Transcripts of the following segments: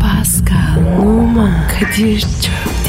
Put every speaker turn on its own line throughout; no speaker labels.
Pascal, Oman, Kadir çok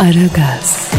Aragaz,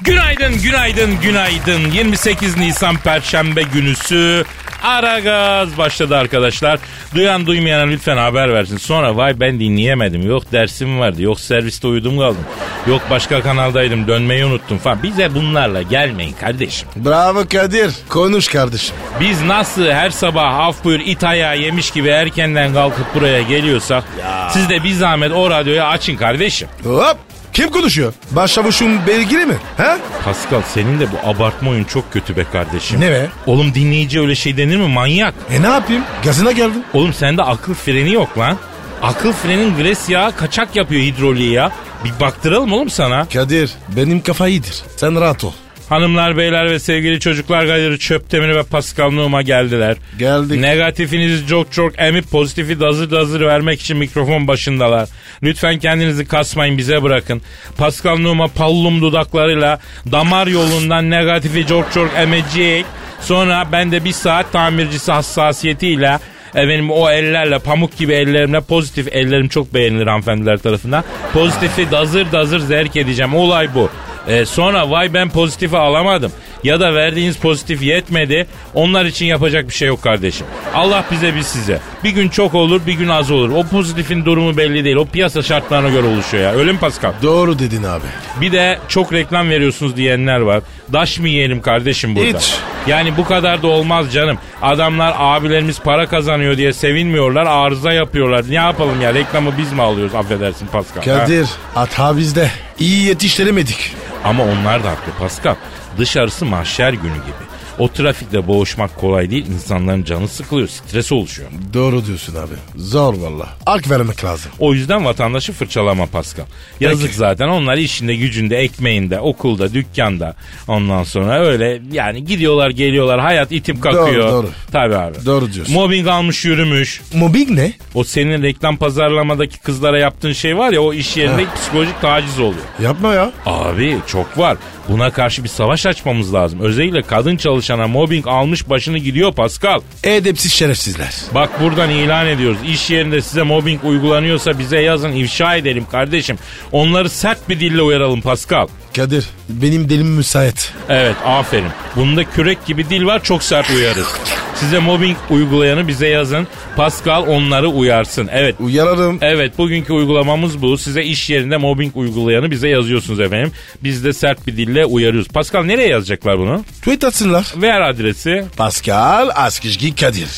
Günaydın, günaydın, günaydın. 28 Nisan Perşembe günüsü. Ara gaz başladı arkadaşlar. Duyan duymayana lütfen haber versin. Sonra vay ben dinleyemedim. Yok dersim vardı. Yok serviste uyudum kaldım. Yok başka kanaldaydım. Dönmeyi unuttum falan. Bize bunlarla gelmeyin kardeşim.
Bravo Kadir. Konuş kardeşim.
Biz nasıl her sabah af buyur it ayağı yemiş gibi erkenden kalkıp buraya geliyorsak siz de bir zahmet o radyoyu açın kardeşim.
Hop. Kim konuşuyor? Başçavuşun belgili mi? He?
Pascal senin de bu abartma oyun çok kötü be kardeşim.
Ne be?
Oğlum dinleyici öyle şey denir mi manyak?
E ne yapayım? Gazına geldim.
Oğlum sende akıl freni yok lan. Akıl frenin gres yağı kaçak yapıyor hidroliği ya. Bir baktıralım oğlum sana.
Kadir benim kafa iyidir. Sen rahat ol.
Hanımlar, beyler ve sevgili çocuklar galeri Çöptemir ve Pascal Numa geldiler.
Geldik.
Negatifinizi çok çok emip pozitifi dazır dazır vermek için mikrofon başındalar. Lütfen kendinizi kasmayın bize bırakın. Pascal Numa pallum dudaklarıyla damar yolundan negatifi çok çok emecek. Sonra ben de bir saat tamircisi hassasiyetiyle Efendim o ellerle pamuk gibi ellerimle pozitif ellerim çok beğenilir hanımefendiler tarafından. Pozitifi dazır dazır zerk edeceğim. Olay bu. Ee, sonra vay ben pozitifi alamadım ya da verdiğiniz pozitif yetmedi. Onlar için yapacak bir şey yok kardeşim. Allah bize biz size. Bir gün çok olur bir gün az olur. O pozitifin durumu belli değil. O piyasa şartlarına göre oluşuyor ya. Öyle mi Pascal?
Doğru dedin abi.
Bir de çok reklam veriyorsunuz diyenler var. Daş mı yiyelim kardeşim burada?
Hiç.
Yani bu kadar da olmaz canım. Adamlar abilerimiz para kazanıyor diye sevinmiyorlar. Arıza yapıyorlar. Ne yapalım ya reklamı biz mi alıyoruz affedersin Pascal? ha?
Kadir hata bizde. İyi yetiştiremedik.
Ama onlar da haklı Pascal. Dışarısı mahşer günü gibi. O trafikte boğuşmak kolay değil. İnsanların canı sıkılıyor, stres oluşuyor.
Doğru diyorsun abi. Zor valla. Hak vermek lazım.
O yüzden vatandaşı fırçalama Pascal. Yazık
Peki.
zaten onlar işinde, gücünde, ekmeğinde, okulda, dükkanda. Ondan sonra öyle yani gidiyorlar, geliyorlar. Hayat itip kakıyor.
doğru.
Tabii abi.
Doğru diyorsun.
Mobbing almış yürümüş.
Mobbing ne?
O senin reklam pazarlamadaki kızlara yaptığın şey var ya o iş yerinde psikolojik taciz oluyor.
Yapma ya.
Abi çok var. Buna karşı bir savaş açmamız lazım. Özellikle kadın çalışana mobbing almış başını gidiyor Pascal.
Edepsiz şerefsizler.
Bak buradan ilan ediyoruz. İş yerinde size mobbing uygulanıyorsa bize yazın ifşa edelim kardeşim. Onları sert bir dille uyaralım Pascal.
Kadir benim dilim müsait.
Evet aferin. Bunda kürek gibi dil var çok sert uyarız. Size mobbing uygulayanı bize yazın. Pascal onları uyarsın. Evet
Uyararım.
Evet bugünkü uygulamamız bu. Size iş yerinde mobbing uygulayanı bize yazıyorsunuz efendim. Biz de sert bir dille uyarıyoruz. Pascal nereye yazacaklar bunu?
Tweet atsınlar.
Ver adresi.
Pascal Askizgi Kadir.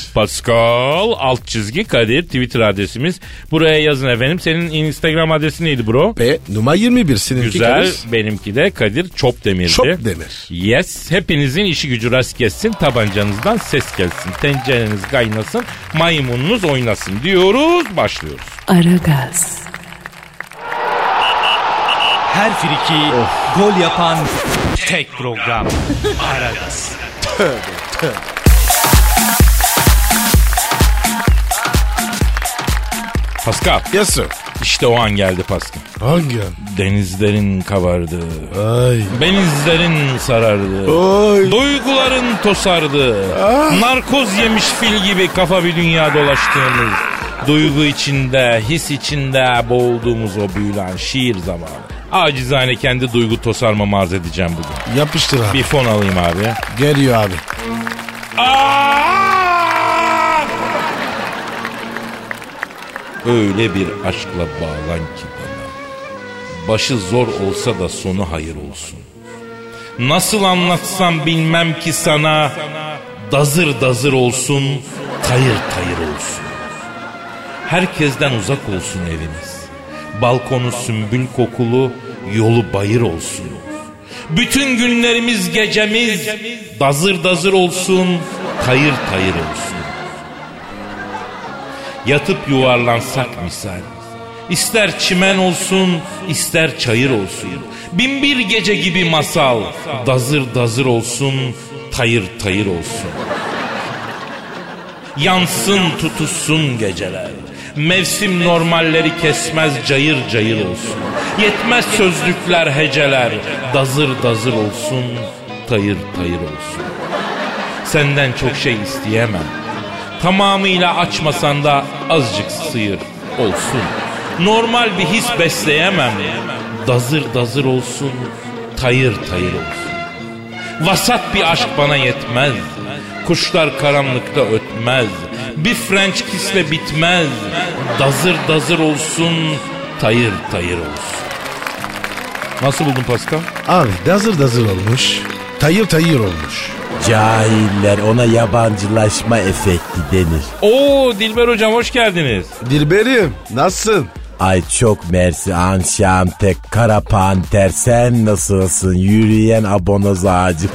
Pascal alt çizgi Kadir Twitter adresimiz. Buraya yazın efendim. Senin Instagram adresi neydi bro?
Ve numara 21 seninki
Güzel
Kadir.
benimki de Kadir Çopdemir'di.
Çok demir.
Yes hepinizin işi gücü rast gelsin tabancanızdan ses gelsin tencereniz kaynasın maymununuz oynasın diyoruz başlıyoruz.
Aragaz,
Her friki gol yapan tek program. Aragaz.
Pascal
Yes sir.
işte o an geldi Pascal.
Hangi an?
Denizlerin kabardı.
Ay.
Benizlerin sarardı.
Oy.
Duyguların tosardı. Narkoz yemiş fil gibi kafa bir dünya dolaştığımız. Duygu içinde, his içinde boğulduğumuz o büyülen şiir zamanı. Acizane kendi duygu tosarma arz edeceğim bugün.
Yapıştır abi.
Bir fon alayım abi.
Geliyor abi.
Aa! Öyle bir aşkla bağlan ki bana. Başı zor olsa da sonu hayır olsun. Nasıl anlatsam bilmem ki sana. Dazır dazır olsun, tayır tayır olsun. Herkesten uzak olsun eviniz. Balkonu sümbül kokulu, yolu bayır olsun. Bütün günlerimiz gecemiz dazır dazır olsun, tayır tayır olsun. Yatıp yuvarlansak misal. İster çimen olsun, ister çayır olsun. Bin bir gece gibi masal, dazır dazır olsun, tayır tayır olsun. Yansın tutuşsun geceler. Mevsim normalleri kesmez cayır cayır olsun. Yetmez sözlükler heceler. Dazır dazır olsun, tayır tayır olsun. Senden çok şey isteyemem. Tamamıyla açmasan da azıcık sıyır olsun. Normal bir his besleyemem. Dazır dazır olsun, tayır tayır olsun. Vasat bir aşk bana yetmez. Kuşlar karanlıkta ötmez. Bir French kissle bitmez. Dazır dazır olsun, tayır tayır olsun. Nasıl buldun Pascal?
Abi dazır dazır olmuş. Tayır tayır olmuş.
Cahiller ona yabancılaşma efekti denir.
Oo Dilber hocam hoş geldiniz.
Dilberim nasılsın?
Ay çok mersi anşam tek kara panter sen nasılsın yürüyen abonoz ağacı.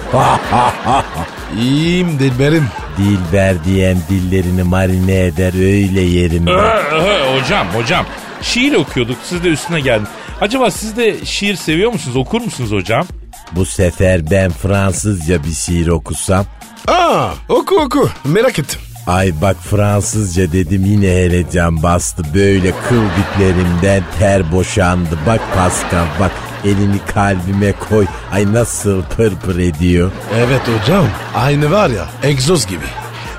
İyiyim Dilberim.
Dilber diyen dillerini marine eder öyle yerinde.
Ee, hocam hocam şiir okuyorduk siz de üstüne geldin. Acaba siz de şiir seviyor musunuz okur musunuz hocam?
Bu sefer ben Fransızca bir şiir okusam.
Aa oku oku merak ettim.
Ay bak Fransızca dedim yine heyecan bastı. Böyle kıl diplerimden ter boşandı. Bak Pascal bak elini kalbime koy. Ay nasıl pırpır ediyor.
Evet hocam aynı var ya egzoz gibi.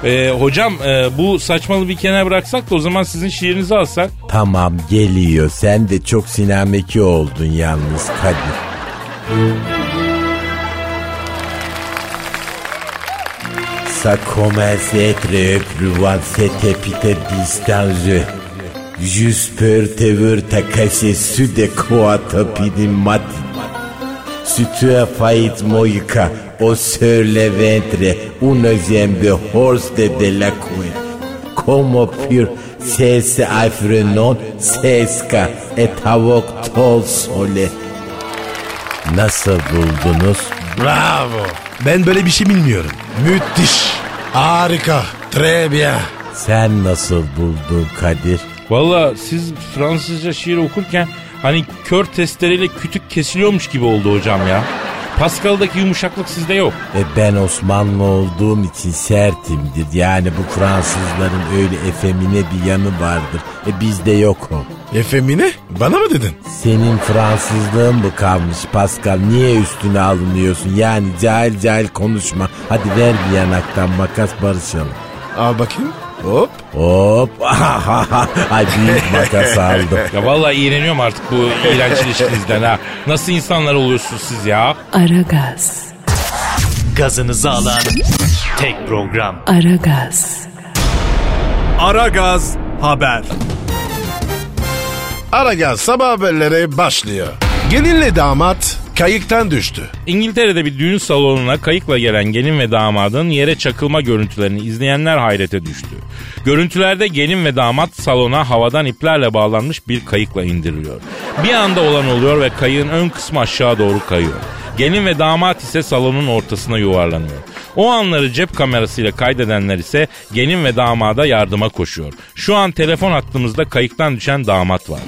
Ee, hocam e, bu saçmalığı bir kenara bıraksak da o zaman sizin şiirinizi alsak.
Tamam geliyor. Sen de çok sinameki oldun yalnız Kadir. Ça commence à être éprouvant cette épithète distance. Juste peur te voir te casser sous des coatopines mat. Si tu as faillit moïka, au sur le ventre, une de horse de Delacroix. Como pur ses afrenon seska et tavok tol sole. Nasıl buldunuz?
Bravo. Ben böyle bir şey bilmiyorum. Müthiş. Harika. Très bien.
Sen nasıl buldun Kadir?
Valla siz Fransızca şiir okurken hani kör testereyle kütük kesiliyormuş gibi oldu hocam ya. Pascal'daki yumuşaklık sizde yok.
E ben Osmanlı olduğum için sertimdir. Yani bu Fransızların öyle efemine bir yanı vardır. E bizde yok o.
Efemine bana mı dedin?
Senin Fransızlığın mı kalmış Pascal? Niye üstüne alınıyorsun? Yani cahil cahil konuşma. Hadi ver bir yanaktan makas barışalım.
Al bakayım. Hop.
Hop. Ay büyük makas aldım.
Ya valla iğreniyorum artık bu iğrenç ilişkinizden ha. Nasıl insanlar oluyorsunuz siz ya?
Aragaz.
Gazınızı alan tek program.
Aragaz.
Ara Gaz Haber.
Aragaz sabah haberleri başlıyor. Gelinle damat kayıktan düştü.
İngiltere'de bir düğün salonuna kayıkla gelen gelin ve damadın yere çakılma görüntülerini izleyenler hayrete düştü. Görüntülerde gelin ve damat salona havadan iplerle bağlanmış bir kayıkla indiriliyor. Bir anda olan oluyor ve kayığın ön kısmı aşağı doğru kayıyor. Gelin ve damat ise salonun ortasına yuvarlanıyor. O anları cep kamerasıyla kaydedenler ise gelin ve damada yardıma koşuyor. Şu an telefon hattımızda kayıktan düşen damat var.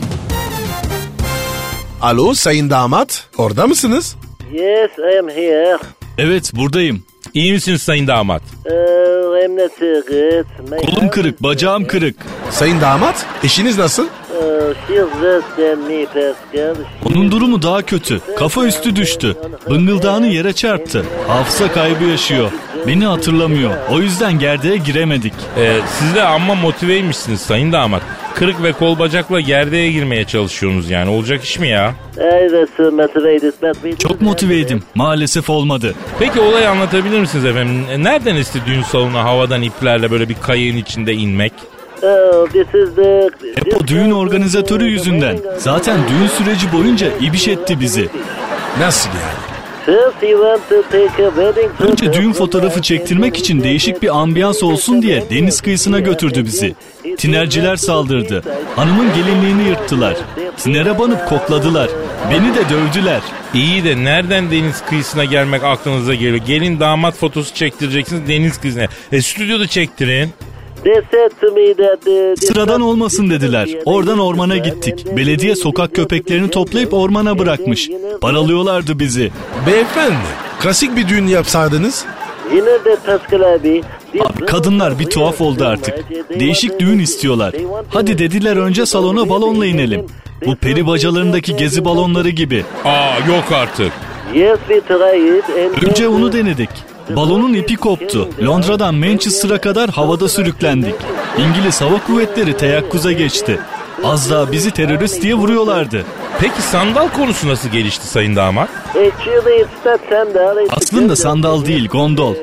Alo sayın damat orada mısınız?
Yes, I am here.
Evet buradayım.
İyi misiniz sayın damat?
Uh, I'm not so good. My
Kolum kırık, bacağım kırık.
Sayın damat eşiniz nasıl?
Uh, she's worse than me, Pascal.
Onun durumu daha kötü. Kafa üstü düştü. Bıngıldağını yere çarptı. Hafıza kaybı yaşıyor. Beni hatırlamıyor. O yüzden gerdeğe giremedik.
Ee, siz de amma motiveymişsiniz sayın damat. Kırık ve kol bacakla gerdeğe girmeye çalışıyorsunuz yani. Olacak iş mi ya?
I was so motivated, but we
Çok
didn't
motiveydim. Maalesef olmadı.
Peki olayı anlatabilir misiniz efendim? E, Nereden esti düğün salonuna havadan iplerle böyle bir kayığın içinde inmek?
have- Oh, this is the...
Hep o düğün organizatörü yüzünden. Zaten düğün süreci boyunca ibiş etti bizi.
Nasıl yani?
First he want to take a wedding photo.
Önce düğün fotoğrafı çektirmek için değişik bir ambiyans olsun diye deniz kıyısına götürdü bizi. Tinerciler saldırdı. Hanımın gelinliğini yırttılar. Tinere banıp kokladılar. Beni de dövdüler.
İyi de nereden deniz kıyısına gelmek aklınıza geliyor? Gelin damat fotosu çektireceksiniz deniz kıyısına. E stüdyoda çektirin.
They said to me that uh, the- the-
Sıradan olmasın dediler. Oradan ormana gittik. Belediye sokak köpeklerini toplayıp ormana bırakmış. Paralıyorlardı bizi.
Beyefendi klasik bir düğün yapsaydınız
You know that Pascal abi, this-
Abi kadınlar bir tuhaf oldu artık. Değişik düğün istiyorlar. Hadi dediler önce salona balonla inelim. Bu peri bacalarındaki gezi balonları gibi.
Aa yok artık.
Yes, we tried and-
Önce onu denedik. Balonun ipi koptu. Londra'dan Manchester'a kadar havada sürüklendik. İngiliz Hava Kuvvetleri teyakkuza geçti. Az daha bizi terörist diye vuruyorlardı.
Peki sandal konusu nasıl gelişti sayın damat?
Actually it's not sandal, it's-
Aslında sandal değil gondol.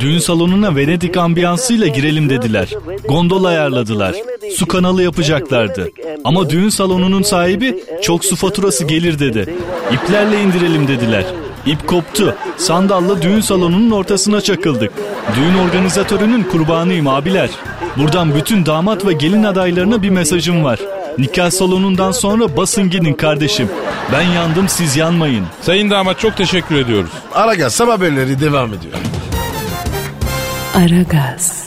Düğün salonuna Venedik ambiyansıyla girelim dediler. Gondol ayarladılar. Su kanalı yapacaklardı. Ama düğün salonunun sahibi çok su faturası gelir dedi. İplerle indirelim dediler. İp koptu. Sandalla düğün salonunun ortasına çakıldık. Düğün organizatörünün kurbanıyım abiler. Buradan bütün damat ve gelin adaylarına bir mesajım var. Nikah salonundan sonra basın gidin kardeşim. Ben yandım siz yanmayın.
Sayın damat çok teşekkür ediyoruz.
Aragaz sabah haberleri devam ediyor.
Aragaz,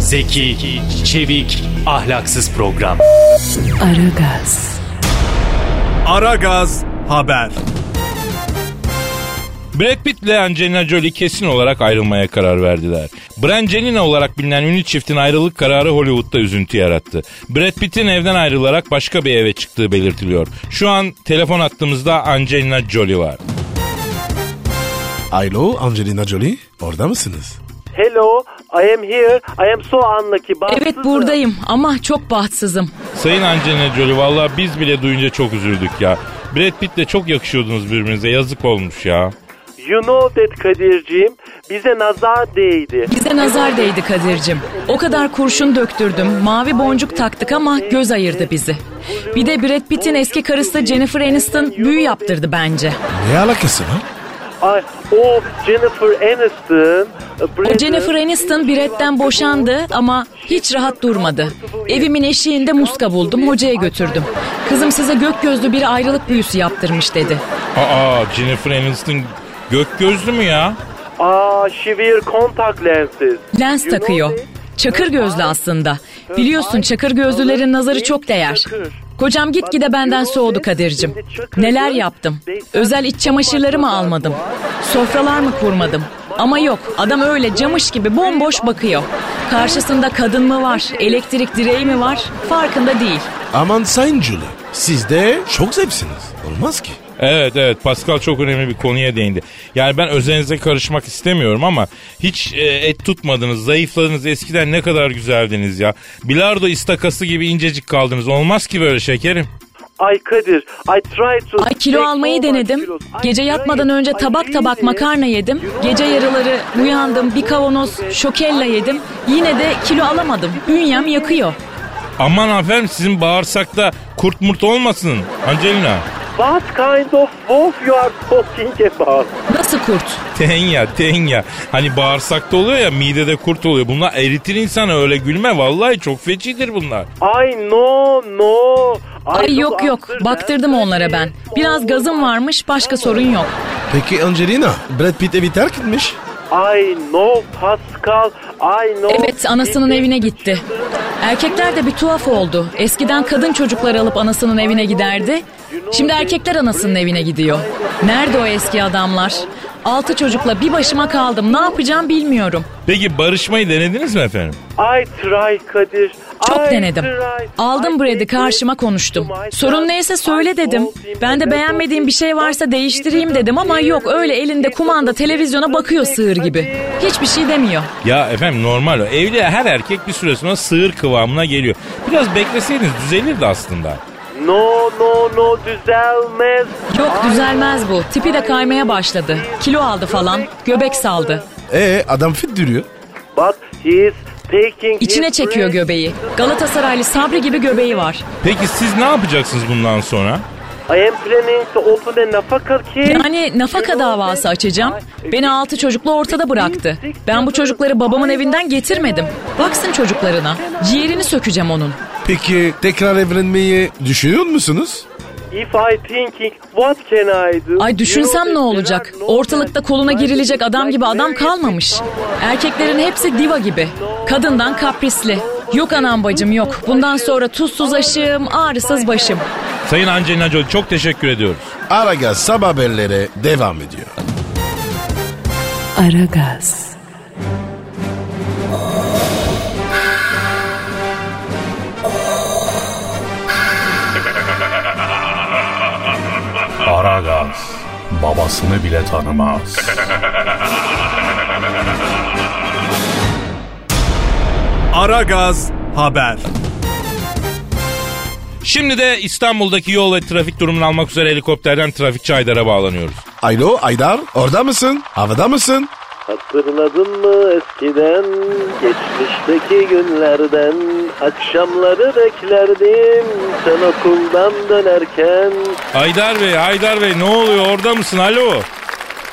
Zeki, çevik, ahlaksız program.
Aragaz,
Aragaz Haber.
Brad Pitt ile Angelina Jolie kesin olarak ayrılmaya karar verdiler. Brangelina olarak bilinen ünlü çiftin ayrılık kararı Hollywood'da üzüntü yarattı. Brad Pitt'in evden ayrılarak başka bir eve çıktığı belirtiliyor. Şu an telefon attığımızda Angelina Jolie var.
Alo Angelina Jolie orada mısınız?
Hello, I am here. I am so unlucky.
Evet
Bahtsızım.
buradayım ama çok bahtsızım.
Sayın Angelina Jolie valla biz bile duyunca çok üzüldük ya. Brad Pitt'le çok yakışıyordunuz birbirinize yazık olmuş ya.
You know that Kadir'ciğim bize nazar değdi.
Bize nazar değdi Kadir'cim. O kadar kurşun döktürdüm, mavi boncuk taktık ama göz ayırdı bizi. Bir de Brad Pitt'in eski karısı Jennifer Aniston büyü yaptırdı bence.
Ne alakası var?
Ay, o Jennifer Aniston. uh, Brad
O Jennifer Aniston Brad'den boşandı ama hiç rahat durmadı. Evimin eşiğinde muska buldum, hocaya götürdüm. Kızım size gök gözlü bir ayrılık büyüsü yaptırmış dedi.
Aa Jennifer Aniston gök gözlü mü ya?
Aa, şivir contact lenses.
Lens takıyor. Çakır gözlü aslında. Biliyorsun çakır gözlülerin nazarı çok değer. Kocam gitgide benden soğudu Kadir'cim. Neler yaptım? Özel iç çamaşırları mı almadım? Sofralar mı kurmadım? Ama yok adam öyle camış gibi bomboş bakıyor. Karşısında kadın mı var, elektrik direği mi var farkında değil.
Aman Sayın Jolie siz de çok zevksiniz. Olmaz ki.
Evet evet Pascal çok önemli bir konuya değindi. Yani ben özenize karışmak istemiyorum ama hiç e, et tutmadınız, zayıfladınız. Eskiden ne kadar güzeldiniz ya. Bilardo istakası gibi incecik kaldınız. Olmaz ki böyle şey şekerim.
Ay Kadir, I tried to...
Ay kilo almayı denedim. Gece yatmadan önce tabak tabak makarna yedim. Gece yarıları uyandım bir kavanoz şokella yedim. Yine de kilo alamadım. Bünyem yakıyor.
Aman aferin sizin bağırsakta kurt murt olmasın Angelina.
What kind of wolf you are talking about?
Nasıl kurt?
Tenya tenya. Hani bağırsakta oluyor ya midede kurt oluyor. Bunlar eritir insanı öyle gülme. Vallahi çok fecidir bunlar.
Ay no, no.
Ay yok yok baktırdım onlara ben. Biraz gazım varmış başka sorun yok.
Peki Angelina Brad Pitt evi terk etmiş.
Ay no Pascal, ay no...
Evet anasının evine gitti. Erkekler de bir tuhaf oldu. Eskiden kadın çocukları alıp anasının evine giderdi. Şimdi erkekler anasının evine gidiyor. Nerede o eski adamlar? Altı çocukla bir başıma kaldım. Ne yapacağım bilmiyorum.
Peki barışmayı denediniz mi efendim?
Ay try Kadir.
Çok
I
denedim.
try.
Aldım
I
Brad'i
take
karşıma
it
konuştum.
to my
Sorun
son.
neyse
I
söyle dedim.
told him
Ben de
that
beğenmediğim bir şey varsa değiştireyim dedim ama yok öyle elinde kumanda televizyona bakıyor sığır gibi. Hiçbir şey demiyor.
Ya efendim normal o. Evli her erkek bir süre sonra sığır kıvamına geliyor. Biraz bekleseydiniz düzelirdi aslında.
No no no düzelmez.
Yok düzelmez bu. Tipi de kaymaya başladı. Kilo aldı falan. Göbek saldı.
E adam fit duruyor.
But he is taking
İçine
his
çekiyor
breath.
göbeği. Galatasaraylı Sabri gibi göbeği var.
Peki siz ne yapacaksınız bundan sonra?
I am planning to open a nafaka case.
Yani nafaka davası açacağım. Beni altı çocukla ortada bıraktı. Ben bu çocukları babamın evinden getirmedim. Baksın çocuklarına. Ciğerini sökeceğim onun.
Peki tekrar evlenmeyi düşünüyor musunuz?
If I thinking what can I do?
Ay düşünsem ne olacak? Ortalıkta koluna girilecek adam gibi adam kalmamış. Erkeklerin hepsi diva gibi. Kadından kaprisli. Yok anam bacım yok. Bundan sonra tuzsuz aşım, ağrısız başım.
Sayın Angelina Jolie çok teşekkür ediyoruz.
Aragaz sabah haberlere devam ediyor.
Aragaz,
Aragaz babasını bile tanımaz.
Aragaz haber.
Şimdi de İstanbul'daki yol ve trafik durumunu almak üzere helikopterden trafikçi Aydar'a bağlanıyoruz.
Alo Aydar orada mısın? Havada mısın?
Hatırladın mı eskiden geçmişteki günlerden akşamları beklerdim sen okuldan dönerken
Aydar Bey, Aydar Bey ne oluyor orada mısın? Alo.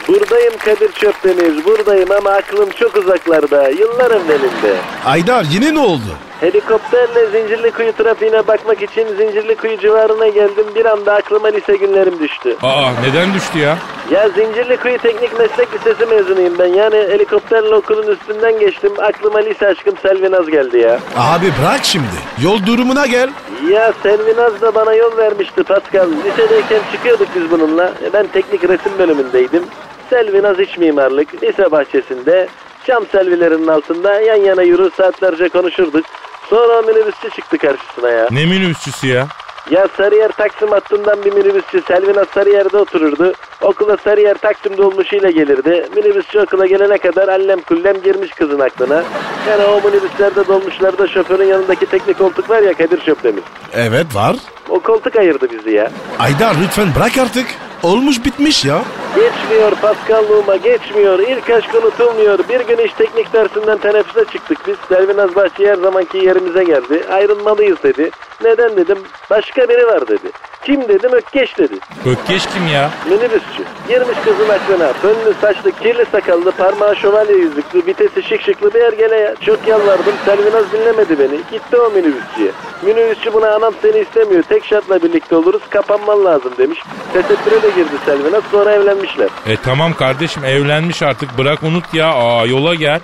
buradayım Kadir Çöpdemir buradayım ama aklım çok uzaklarda yıllarım elinde.
Aydar yine ne oldu?
Helikopterle Zincirlikuyu trafiğine bakmak için Zincirlikuyu civarına geldim. Bir anda aklıma lise günlerim düştü.
Aa neden düştü ya?
Ya Zincirlikuyu Teknik Meslek Lisesi mezunuyum ben. Yani helikopterle okulun üstünden geçtim. Aklıma lise aşkım Selvinaz geldi ya.
Abi bırak şimdi. Yol durumuna gel.
Ya Selvinaz da bana yol vermişti Pascal. Lisedeyken çıkıyorduk biz bununla. E, Ben teknik resim bölümündeydim. Selvinaz iç mimarlık. Lise bahçesinde. Çam selvilerinin altında yan yana yürür saatlerce konuşurduk. Sonra o minibüsçü çıktı karşısına ya.
Ne minibüsçüsü ya?
Ya Sarıyer Taksim hattından bir minibüsçü Selvina Sarıyer'de otururdu. Okula Sarıyer Taksim dolmuşuyla gelirdi. Minibüsçü okula gelene kadar allem kullem girmiş kızın aklına. Yani o minibüslerde dolmuşlarda şoförün yanındaki teknik koltuk var ya Kadir Şöpdemir.
Evet var.
O koltuk ayırdı bizi ya.
Aydar lütfen bırak artık. Olmuş bitmiş ya.
Geçmiyor Paskalluğuma geçmiyor. İlk aşk unutulmuyor. Bir gün iş teknik dersinden teneffüse çıktık biz. Selvinaz Bahçe her zamanki yerimize geldi. Ayrılmalıyız dedi. Neden dedim. Başka biri var dedi. Kim dedim Ökkeş dedi.
Ökkeş kim ya?
Minibüsçü. Girmiş kızın aklına. Fönlü saçlı, kirli sakallı, parmağı şövalye yüzüklü, vitesi şık şıklı bir ergele ya. Çok yalvardım. Selvinaz dinlemedi beni. Gitti o minibüsçüye. Minibüsçü buna anam seni istemiyor. Tek şartla birlikte oluruz. Kapanman lazım demiş. Tesettüre de girdi Selvinaz. Sonra evlenmişler.
E tamam kardeşim evlenmiş artık bırak unut ya. Aa yola gel.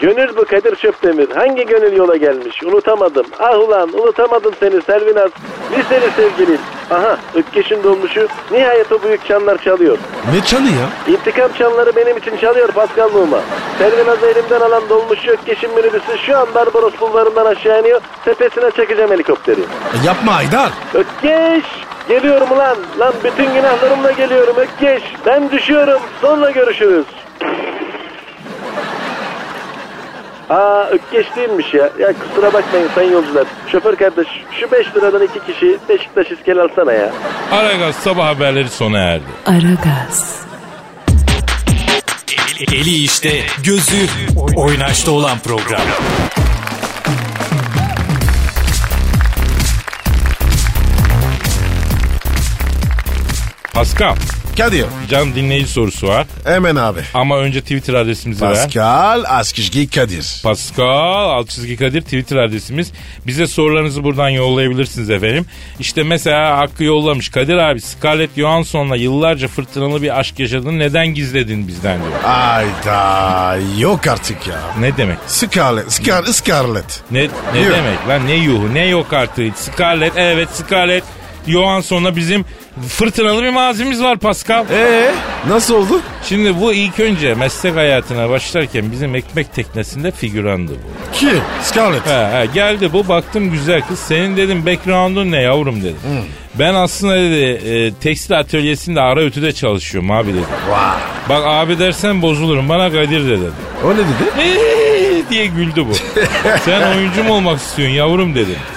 Gönül bu Kadir Çöpdemir. Hangi gönül yola gelmiş? Unutamadım. Ah ulan unutamadım seni Selvinaz. Liseli sevgilin. Aha Ökkeş'in dolmuşu. Nihayet o büyük çanlar çalıyor.
Ne çanı ya?
İntikam çanları benim için çalıyor Paskalluğuma. Servinaz'ı elimden alan dolmuş yok geçim minibüsü şu an Barbaros bulvarından aşağı iniyor. Tepesine çekeceğim helikopteri.
E, Yapma Aydar.
Ökkeş! Geliyorum lan. Lan bütün günahlarımla geliyorum Ökkeş. Ben düşüyorum. Sonra görüşürüz. Aa Ökkeş değilmiş ya. Ya kusura bakmayın sayın yolcular. Şoför kardeş şu 5 liradan iki kişi Beşiktaş iskele alsana ya.
Aragaz sabah haberleri sona erdi.
Aragaz,
Eli işte, gözü oynaşta olan program.
Pascal,
Kadir
canım dinleyici sorusu var.
hemen abi.
Ama önce Twitter adresimizi ver.
Pascal Askizgi Kadir.
Pascal alt çizgi Kadir Twitter adresimiz. Bize sorularınızı buradan yollayabilirsiniz efendim. İşte mesela Hakkı yollamış. Kadir abi Scarlett Johansson'la yıllarca fırtınalı bir aşk yaşadın. Neden gizledin bizden diyor.
Ayda yok artık ya.
Ne demek?
Scarlet, Scar, Scarlet.
Ne, ne
Yuh.
demek lan ne yuhu ne yok artık. Scarlett evet Scarlett Johansson'la bizim fırtınalı bir mazimiz var Pascal.
Ee, nasıl oldu?
Şimdi bu ilk önce meslek hayatına başlarken bizim ekmek teknesinde figürandı bu.
Kim? Scarlet.
He, he, geldi bu baktım güzel kız. Senin dedim background'un ne yavrum dedi. Ben aslında dedi e, tekstil atölyesinde ara ötüde çalışıyorum abi dedi.
Vay.
Bak abi dersen bozulurum bana Kadir de dedi.
O ne dedi?
"Eee" diye güldü bu. Sen oyuncu mu olmak istiyorsun yavrum dedi.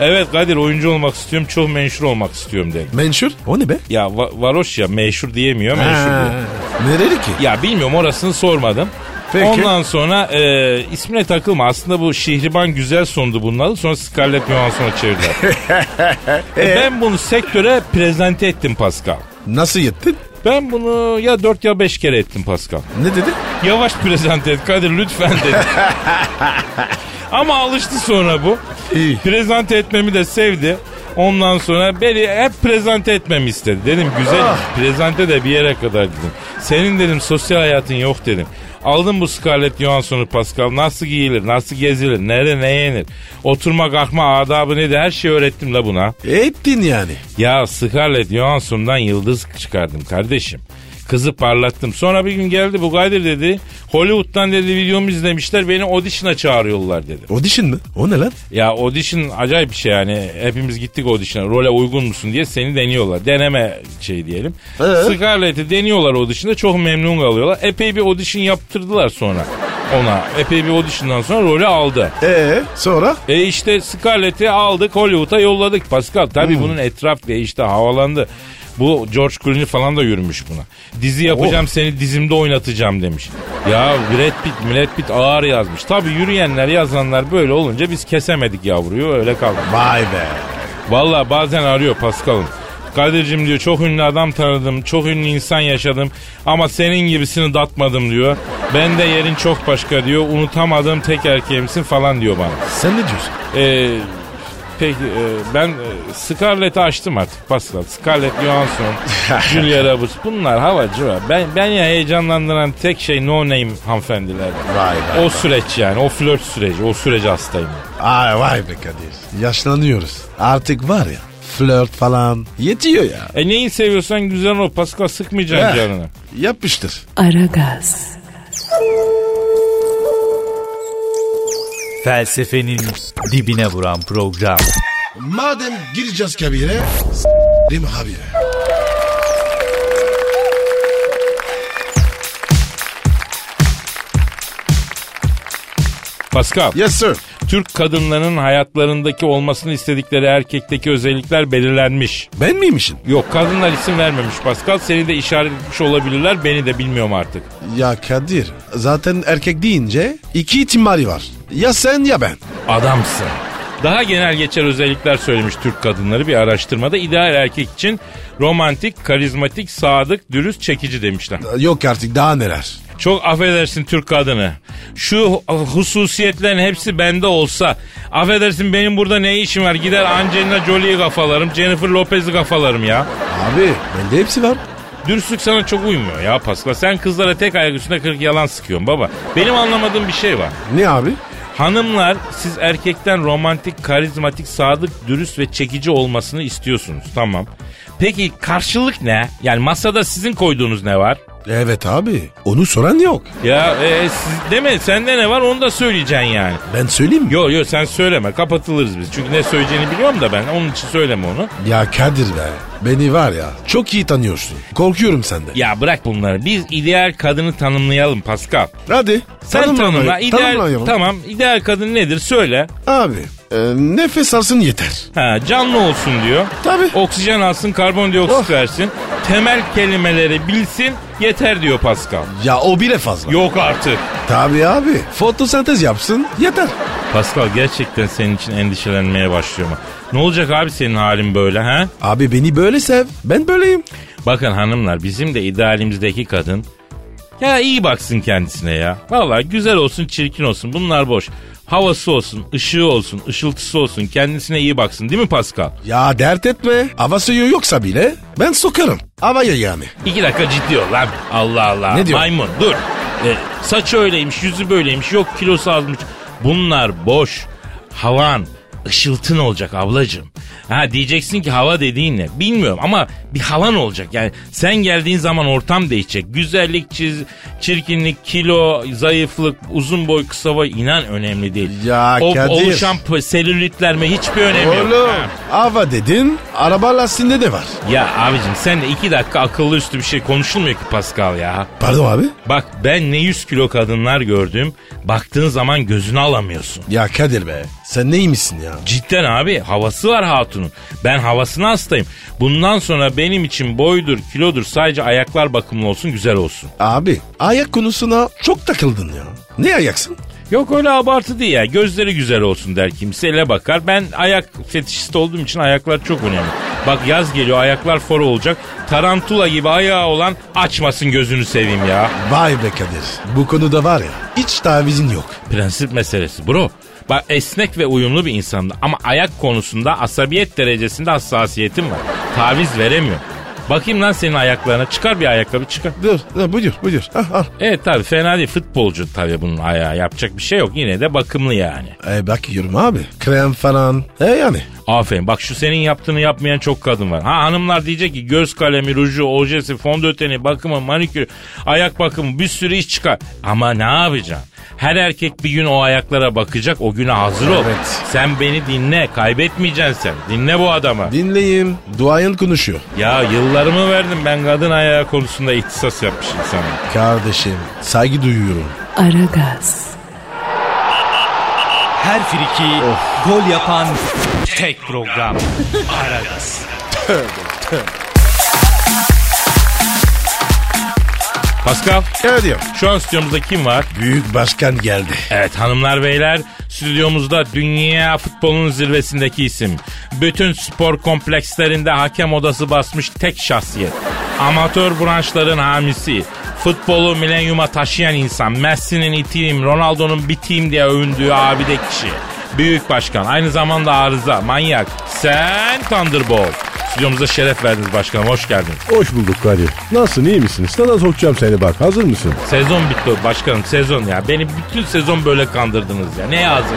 Evet Kadir oyuncu olmak istiyorum çok menşur olmak istiyorum dedi.
Menşur. O ne be?
Ya va- varoş ya meşhur diyemiyor menşur diyor.
Ha, Nereli ki?
Ya bilmiyorum orasını sormadım.
Peki.
Ondan sonra e, ismine takılma. Aslında bu Şihriban Güzel sondu bunun adı. Sonra Scarlett Johansson'a çevirdiler. E, ben bunu sektöre prezente ettim Pascal.
Nasıl yettin?
Ben bunu ya 4 ya 5 kere ettim Pascal.
Ne dedi?
Yavaş prezente et Kadir lütfen dedi. Ama alıştı sonra bu.
İyi.
Prezente etmemi de sevdi. Ondan sonra beni hep prezente etmemi istedi. Dedim güzel prezente de bir yere kadar dedim. Senin dedim sosyal hayatın yok dedim. Aldım bu Scarlett Johansson'u Pascal. Nasıl giyilir, nasıl gezilir, nere ne yenir. Oturma kalkma adabı nedir her şeyi öğrettim la buna.
E, Ettin yani.
Ya Scarlett Johansson'dan yıldız çıkardım kardeşim. Kızı parlattım. Sonra bir gün geldi bu Kadir dedi. Hollywood'dan dedi videomu izlemişler beni audition'a çağırıyorlar dedi.
Audition mı? O ne lan?
Ya audition acayip bir şey yani. Hepimiz gittik audition'a. Role uygun musun diye seni deniyorlar. Deneme şey diyelim. Scarlett'i deniyorlar audition'da. Çok memnun kalıyorlar. Epey bir audition yaptırdılar sonra ona. Epey bir audition'dan sonra rolü aldı.
Ee sonra?
E işte Scarlett'i aldık Hollywood'a yolladık Pascal. Tabii bunun etraf ve işte havalandı. Bu George Clooney falan da yürümüş buna. Dizi yapacağım seni dizimde oynatacağım demiş. Ya Brad Pitt, Brad Pitt ağır yazmış. Tabii yürüyenler yazanlar böyle olunca biz kesemedik yavruyu öyle kaldı.
Vay be.
Valla bazen arıyor Pascal'ım. Kadir'cim diyor çok ünlü adam tanıdım, çok ünlü insan yaşadım ama senin gibisini datmadım diyor. Ben de yerin çok başka diyor, unutamadığım tek erkeğimsin falan diyor bana.
Sen ne diyorsun?
Ee, peki e, ben e, Scarlett'i açtım artık Pascal. Scarlett Johansson, Julia Roberts bunlar havacı var. Ben, ben ya heyecanlandıran tek şey no name hanımefendiler.
Vay
O süreç yani o flört süreci o sürece hastayım.
Ay vay be Kadir. Yaşlanıyoruz. Artık var ya flört falan yetiyor ya.
E neyi seviyorsan güzel o Pascal sıkmayacaksın
Eh,
canını.
Yapmıştır.
Aragaz,
Felsefenin dibine vuran program.
Madem gireceğiz kabire s**rim habire.
Pascal.
Yes sir.
Türk kadınlarının hayatlarındaki olmasını istedikleri erkekteki özellikler belirlenmiş.
Ben miymişim?
Yok kadınlar isim vermemiş Pascal. Seni de işaret etmiş olabilirler. Beni de bilmiyorum artık.
Ya Kadir zaten erkek deyince iki ihtimali var. Ya sen ya ben.
Adamsın. Daha genel geçer özellikler söylemiş Türk kadınları bir araştırmada. İdeal erkek için romantik, karizmatik, sadık, dürüst, çekici demişler.
Yok artık daha neler.
Çok affedersin Türk kadını. Şu hususiyetlerin hepsi bende olsa. Affedersin benim burada ne işim var? Gider Angelina Jolie'yi kafalarım, Jennifer Lopez'i kafalarım ya.
Abi bende hepsi var.
Dürüstlük sana çok uymuyor ya Pascal. Sen kızlara tek ayak üstünde kırk yalan sıkıyorsun baba. Benim anlamadığım bir şey var.
Ne abi?
Hanımlar siz erkekten romantik, karizmatik, sadık, dürüst ve çekici olmasını istiyorsunuz. Tamam. Peki karşılık ne? Yani masada sizin koyduğunuz ne var?
Evet abi. Onu soran yok.
Ya e, siz deme sende ne var onu da söyleyeceksin yani.
Ben söyleyeyim mi?
Yo yo sen söyleme kapatılırız biz. Çünkü ne söyleyeceğini biliyorum da ben onun için söyleme onu.
Ya Kadir be. Beni var ya çok iyi tanıyorsun. Korkuyorum senden.
Ya bırak bunları biz ideal kadını tanımlayalım Pascal.
Hadi.
Sen tanımla.
Tanımlamayı-
ideal,
tanımlayalım.
tamam ideal kadın nedir söyle.
Abi e, nefes alsın yeter.
Ha, canlı olsun diyor.
Tabii.
Oksijen alsın karbondioksit
Oh.
versin. Temel kelimeleri bilsin yeter diyor Pascal.
Ya o bile fazla.
Yok artık.
Tabii abi. Fotosentez yapsın yeter.
Pascal gerçekten senin için endişelenmeye başlıyorum. Ne olacak abi senin halin böyle ha?
Abi beni böyle sev. Ben böyleyim.
Bakın hanımlar bizim de idealimizdeki kadın ya iyi baksın kendisine ya. Vallahi güzel olsun çirkin olsun bunlar boş. Havası olsun, ışığı olsun, ışıltısı olsun kendisine iyi baksın değil mi Pascal?
Ya dert etme. Hava suyu yoksa bile ben sokarım. Havaya yani.
İki dakika ciddi ol lan. Allah Allah.
Ne diyor?
Maymun dur. E, saçı öyleymiş, yüzü böyleymiş, yok kilosu azmış. Bunlar boş. Havan, ışıltın olacak ablacığım. Ha diyeceksin ki hava dediğin ne? Bilmiyorum ama bir havan olacak. Yani sen geldiğin zaman ortam değişecek. Güzellik, çiz, çirkinlik, kilo, zayıflık, uzun boy, kısa boy inan önemli değil.
Ya
o,
Kadir.
Oluşan p- selülitler mi hiçbir önemi yok.
Oğlum
Ha.
hava dedin araba lastiğinde de var.
Ya abicim sen de iki dakika akıllı üstü bir şey konuşulmuyor ki Pascal ya.
Pardon abi.
Bak ben ne 100 kilo kadınlar gördüm. Baktığın zaman gözünü alamıyorsun.
Ya Kadir be sen neymişsin ya?
Cidden abi havası var hatunun. Ben havasına hastayım. Bundan sonra benim için boydur, kilodur sadece ayaklar bakımlı olsun, güzel olsun.
Abi ayak konusuna çok takıldın ya. Ne ayaksın?
Yok öyle abartı değil ya. Gözleri güzel olsun der kimse ele bakar. Ben ayak fetişist olduğum için ayaklar çok önemli. Bak yaz geliyor ayaklar for olacak. Tarantula gibi ayağı olan açmasın gözünü seveyim ya.
Vay be Kadir bu konuda var ya hiç tavizin yok.
Prensip meselesi bro. Bak esnek ve uyumlu bir insandı ama ayak konusunda asabiyet derecesinde hassasiyetim var. Taviz veremiyor. Bakayım lan senin ayaklarına. Çıkar bir ayakkabı çıkar.
Dur, dur buyur buyur. Al, al.
Evet tabii fena değil. Futbolcu tabii bunun ayağı. Yapacak bir şey yok. Yine de bakımlı yani.
E, bakıyorum abi. Krem falan. E yani.
Aferin. Bak şu senin yaptığını yapmayan çok kadın var. Ha hanımlar diyecek ki göz kalemi, ruju, ojesi, fondöteni, bakımı, manikürü, ayak bakımı bir sürü iş çıkar. Ama ne yapacaksın? Her erkek bir gün o ayaklara bakacak. O güne hazır ol.
Evet.
Sen beni dinle. Kaybetmeyeceksin sen. Dinle bu adamı.
Dinleyeyim. Duayen konuşuyor.
ya yıllarımı verdim ben kadın ayağı konusunda ihtisas yapmışım sana.
Kardeşim saygı duyuyorum.
Aragaz,
Her friki gol yapan tek program.
Pascal
Evet diyor.
şu an stüdyomuzda kim var?
Büyük başkan geldi.
Evet hanımlar beyler stüdyomuzda dünya futbolunun zirvesindeki isim. Bütün spor komplekslerinde hakem odası basmış tek şahsiyet. Amatör branşların hamisi. Futbolu milenyuma taşıyan insan. Messi'nin itiyim, Ronaldo'nun bitiyim diye övündüğü abide kişi. Büyük başkan, aynı zamanda arıza, manyak. Sen Thunderbolt. Stüdyomuza şeref verdiniz başkanım, hoş geldiniz.
Hoş bulduk Kadir. Nasılsın iyi misin? Sana sokacağım seni bak hazır mısın?
Sezon bitti başkanım, sezon ya. Beni bütün sezon böyle kandırdınız ya. Ne hazırız?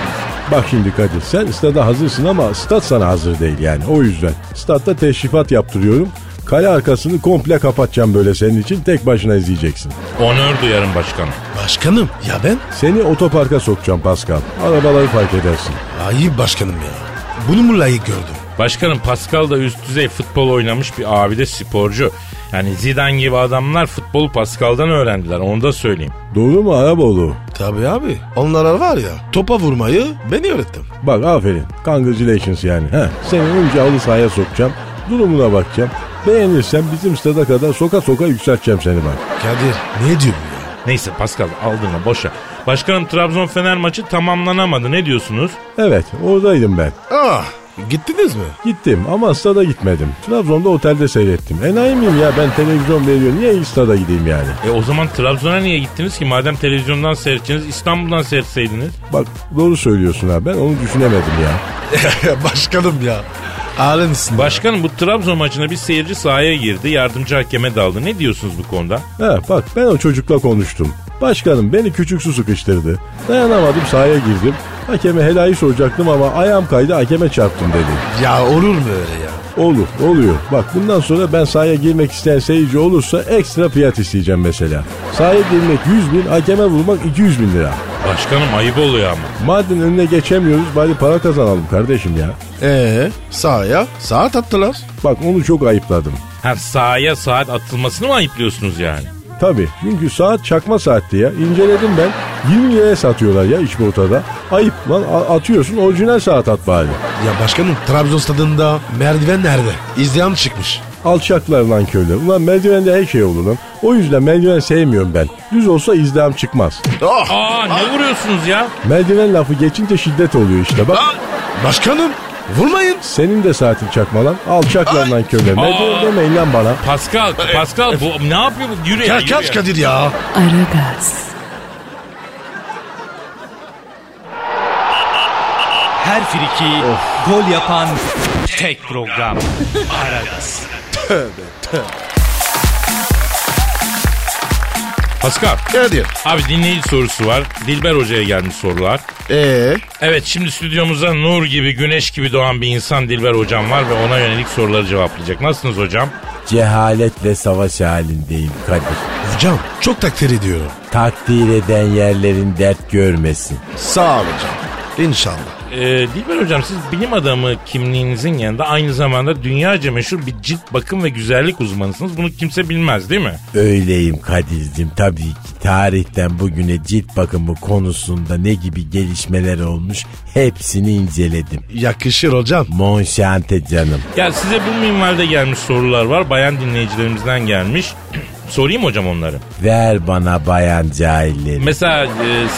Bak şimdi Kadir sen stada hazırsın ama stat sana hazır değil yani o yüzden. Statta teşrifat yaptırıyorum. Kale arkasını komple kapatacağım böyle senin için tek başına izleyeceksin.
Onur duyarım başkanım.
Başkanım ya ben?
Seni otoparka sokacağım Pascal. Arabaları fark edersin.
Ayıp başkanım ya. Bunu mu layık gördüm?
Başkanım Pascal da üst düzey futbol oynamış bir abi de sporcu. Yani Zidane gibi adamlar futbolu Pascal'dan öğrendiler onu da söyleyeyim.
Doğru mu Araboğlu?
Tabii abi. Onlara var ya topa vurmayı beni öğrettim.
Bak aferin. Congratulations yani. Heh, seni önce halı sahaya sokacağım. Durumuna bakacağım. Beğenirsen bizim stada kadar soka soka yükselteceğim seni bak.
Kadir ne diyor bu ya?
Neyse Pascal aldığına boşa. Başkanım Trabzon Fener maçı tamamlanamadı ne diyorsunuz?
Evet oradaydım ben.
Ah gittiniz mi?
Gittim ama stada gitmedim. Trabzon'da otelde seyrettim. Enayi miyim ya ben televizyon veriyor. Niye ilk stada gideyim yani?
E o zaman Trabzon'a niye gittiniz ki madem televizyondan seyredeceğiniz İstanbul'dan seyretseydiniz?
Bak doğru söylüyorsun ha ben onu düşünemedim ya.
başkanım ya. Ağrı mısın?
Başkanım bu Trabzon maçına bir seyirci sahaya girdi yardımcı hakeme daldı ne diyorsunuz bu konuda?
Ha bak ben o çocukla konuştum. Başkanım beni küçük su sıkıştırdı. Dayanamadım sahaya girdim. Hakeme helayı soracaktım ama ayağım kaydı hakeme çarptım dedi.
Ya olur mu öyle ya?
Olur, oluyor. Bak bundan sonra ben sahaya girmek isteyen seyirci olursa ekstra fiyat isteyeceğim mesela. Sahaya girmek 100 bin, hakeme vurmak 200 bin lira.
Başkanım ayıp oluyor ama.
Madem önüne geçemiyoruz bari para kazanalım kardeşim ya.
Ee sahaya saat attılar.
Bak onu çok ayıpladım.
Ha sahaya saat atılmasını mı ayıplıyorsunuz yani?
Tabii çünkü saat çakma saatti ya. İnceledim ben. 20 liraya satıyorlar ya iç ortada. Ayıp lan a- atıyorsun orijinal saat at bari.
Ya başkanım Trabzon stadında merdiven nerede? İzleyen çıkmış.
Alçaklar lan köyler. Ulan merdivende her şey olur lan. O yüzden merdiven sevmiyorum ben. Düz olsa izlehem çıkmaz.
Oh!
Aa ne vuruyorsunuz ya?
Merdiven lafı geçince şiddet oluyor işte bak.
Başkanım vurmayın.
Senin de saatin çakmalan. Alçaklar lan köle. Ne diyor demeyin lan bana.
Pascal, Pascal bu ne yapıyor bu? Yürü ya,
Ka-
yürü
kaç
ya.
Kadir ya.
Aragaz,
Her friki gol yapan tek program.
Pascal,
Kadir.
abi dinleyici sorusu var. Dilber Hoca'ya gelmiş sorular.
Ee
Evet şimdi stüdyomuza nur gibi, güneş gibi doğan bir insan Dilber Hocam var ve ona yönelik soruları cevaplayacak. Nasılsınız hocam?
Cehaletle savaş halindeyim Kadir.
hocam çok takdir ediyorum.
Takdir eden yerlerin dert görmesin.
Sağ ol hocam. İnşallah.
Ee, Dilber Hocam siz bilim adamı kimliğinizin yanında aynı zamanda dünyaca meşhur bir cilt bakım ve güzellik uzmanısınız. Bunu kimse bilmez değil mi?
Öyleyim Kadir'cim tabii ki tarihten bugüne cilt bakımı konusunda ne gibi gelişmeler olmuş hepsini inceledim.
Yakışır hocam.
Monşante canım.
Ya size bu minvalde gelmiş sorular var. Bayan dinleyicilerimizden gelmiş. Sorayım hocam onları.
Ver bana bayan cahilleri.
Mesela e,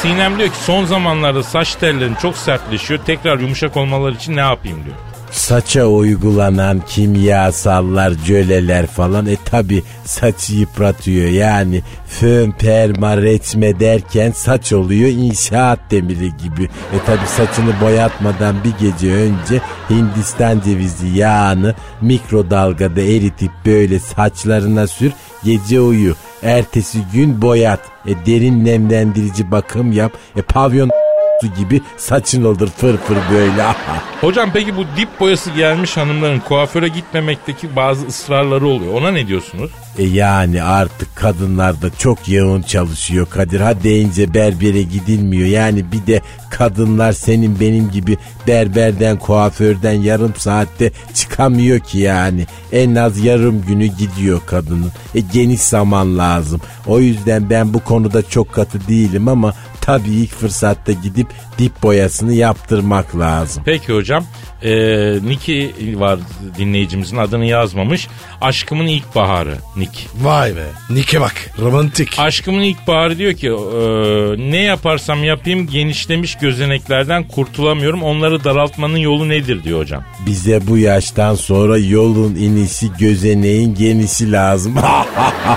Sinem diyor ki son zamanlarda saç tellerim çok sertleşiyor. Tekrar yumuşak olmaları için ne yapayım diyor.
Saça uygulanan kimyasallar, jöleler falan e tabi saçı yıpratıyor. Yani fön, perma, retme derken saç oluyor inşaat demiri gibi. E tabi saçını boyatmadan bir gece önce Hindistan cevizi yağını mikrodalgada eritip böyle saçlarına sür gece uyu. Ertesi gün boyat. E derin nemlendirici bakım yap. E pavyon gibi saçın olur fır fır böyle.
Hocam peki bu dip boyası gelmiş hanımların kuaföre gitmemekteki bazı ısrarları oluyor. Ona ne diyorsunuz?
E yani artık kadınlar da çok yoğun çalışıyor Kadir. Ha deyince berbere gidilmiyor. Yani bir de kadınlar senin benim gibi berberden kuaförden yarım saatte çıkamıyor ki yani. En az yarım günü gidiyor kadının. E geniş zaman lazım. O yüzden ben bu konuda çok katı değilim ama tabii ilk fırsatta gidip dip boyasını yaptırmak lazım.
Peki hocam. Ee, Niki var dinleyicimizin adını yazmamış. Aşkımın ilk baharı Nick.
Vay be. Nick'e bak. Romantik.
Aşkımın ilk baharı diyor ki "Ee, ne yaparsam yapayım genişlemiş gözeneklerden kurtulamıyorum. Onları daraltmanın yolu nedir diyor hocam.
Bize bu yaştan sonra yolun inisi gözeneğin genişi lazım.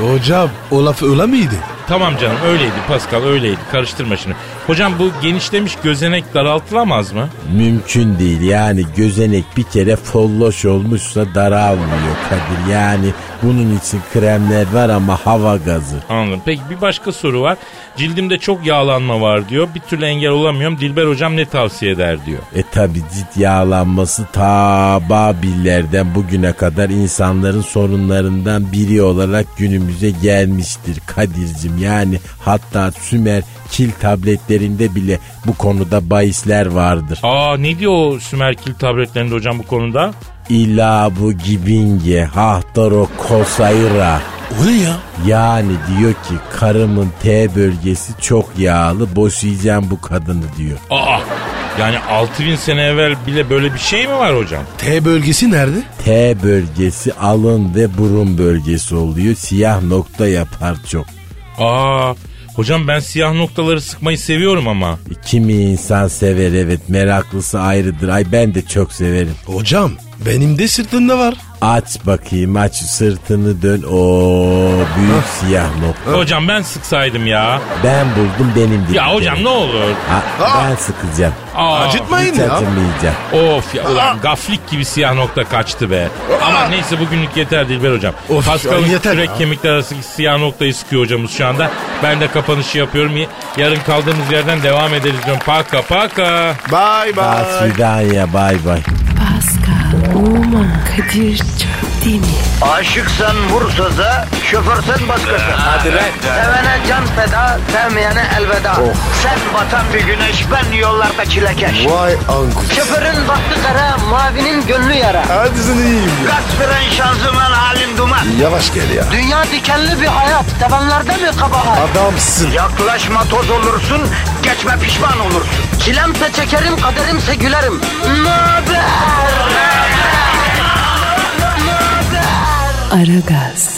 Hocam o laf öyle miydi?
Tamam canım öyleydi Pascal öyleydi karıştırma şimdi. Hocam bu genişlemiş gözenek daraltılamaz mı?
Mümkün değil yani gözenek bir kere folloş olmuşsa daralmıyor Kadir. Yani bunun için kremler var ama hava gazı.
Anladım. Peki bir başka soru var. Cildimde çok yağlanma var diyor. Bir türlü engel olamıyorum. Dilber hocam ne tavsiye eder diyor.
E tabi cilt yağlanması ta Babillerden bugüne kadar insanların sorunlarından biri olarak günümüze gelmiştir Kadir'cim. Yani hatta Sümer kil tabletlerinde bile bu konuda bahisler vardır.
Aa ne diyor o Sümerkil tabletlerinde hocam bu konuda?
İlabu gibinge hahtaro kosayra.
O ne ya?
Yani diyor ki karımın T bölgesi çok yağlı boşayacağım bu kadını diyor.
Aa yani 6000 sene evvel bile böyle bir şey mi var hocam?
T bölgesi nerede?
T bölgesi alın ve burun bölgesi oluyor siyah nokta yapar çok.
Aa hocam ben siyah noktaları sıkmayı seviyorum ama.
E, Kimi insan sever evet meraklısı ayrıdır ay ben de çok severim.
Hocam benim de sırtında var.
Aç bakayım aç sırtını dön o büyük siyah nokta.
Hocam ben sıksaydım ya.
Ben buldum benim dilim.
Ya hocam ne olur.
Ha, ben sıkacağım.
Aa,
Acıtmayın
Hiç
ya.
acımayacak.
Of ya ulan gaflik gibi siyah nokta kaçtı be. Ama neyse bugünlük yeter Dilber hocam.
Of,
Pascal'ın
ya yeter
kürek
ya.
kemikler arasındaki siyah noktayı sıkıyor hocamız şu anda. Ben de kapanışı yapıyorum. Yarın kaldığımız yerden devam ederiz diyorum. Paka paka.
Bye bye.
Asfidanya bay bay.
Pascal, Oman, Kadir çok değil mi?
Aşıksan vursa da, şoförsen başkasın. Hadi
be.
Sevene can feda, sevmeyene elveda. Sen batan bir güneş, ben yollarda çilekeş.
Vay anku.
Şoförün baktı kara, mavinin gönlü yara.
Hadi sen iyiyim ya.
Kasperen şanzıman halin duman.
Yavaş gel ya.
Dünya dikenli bir hayat, sevenlerde mi kabahar?
Adamsın.
Yaklaşma toz olursun, geçme pişman olursun. Çilemse çekerim, kaderimse gülerim. Möber!
Aragaz.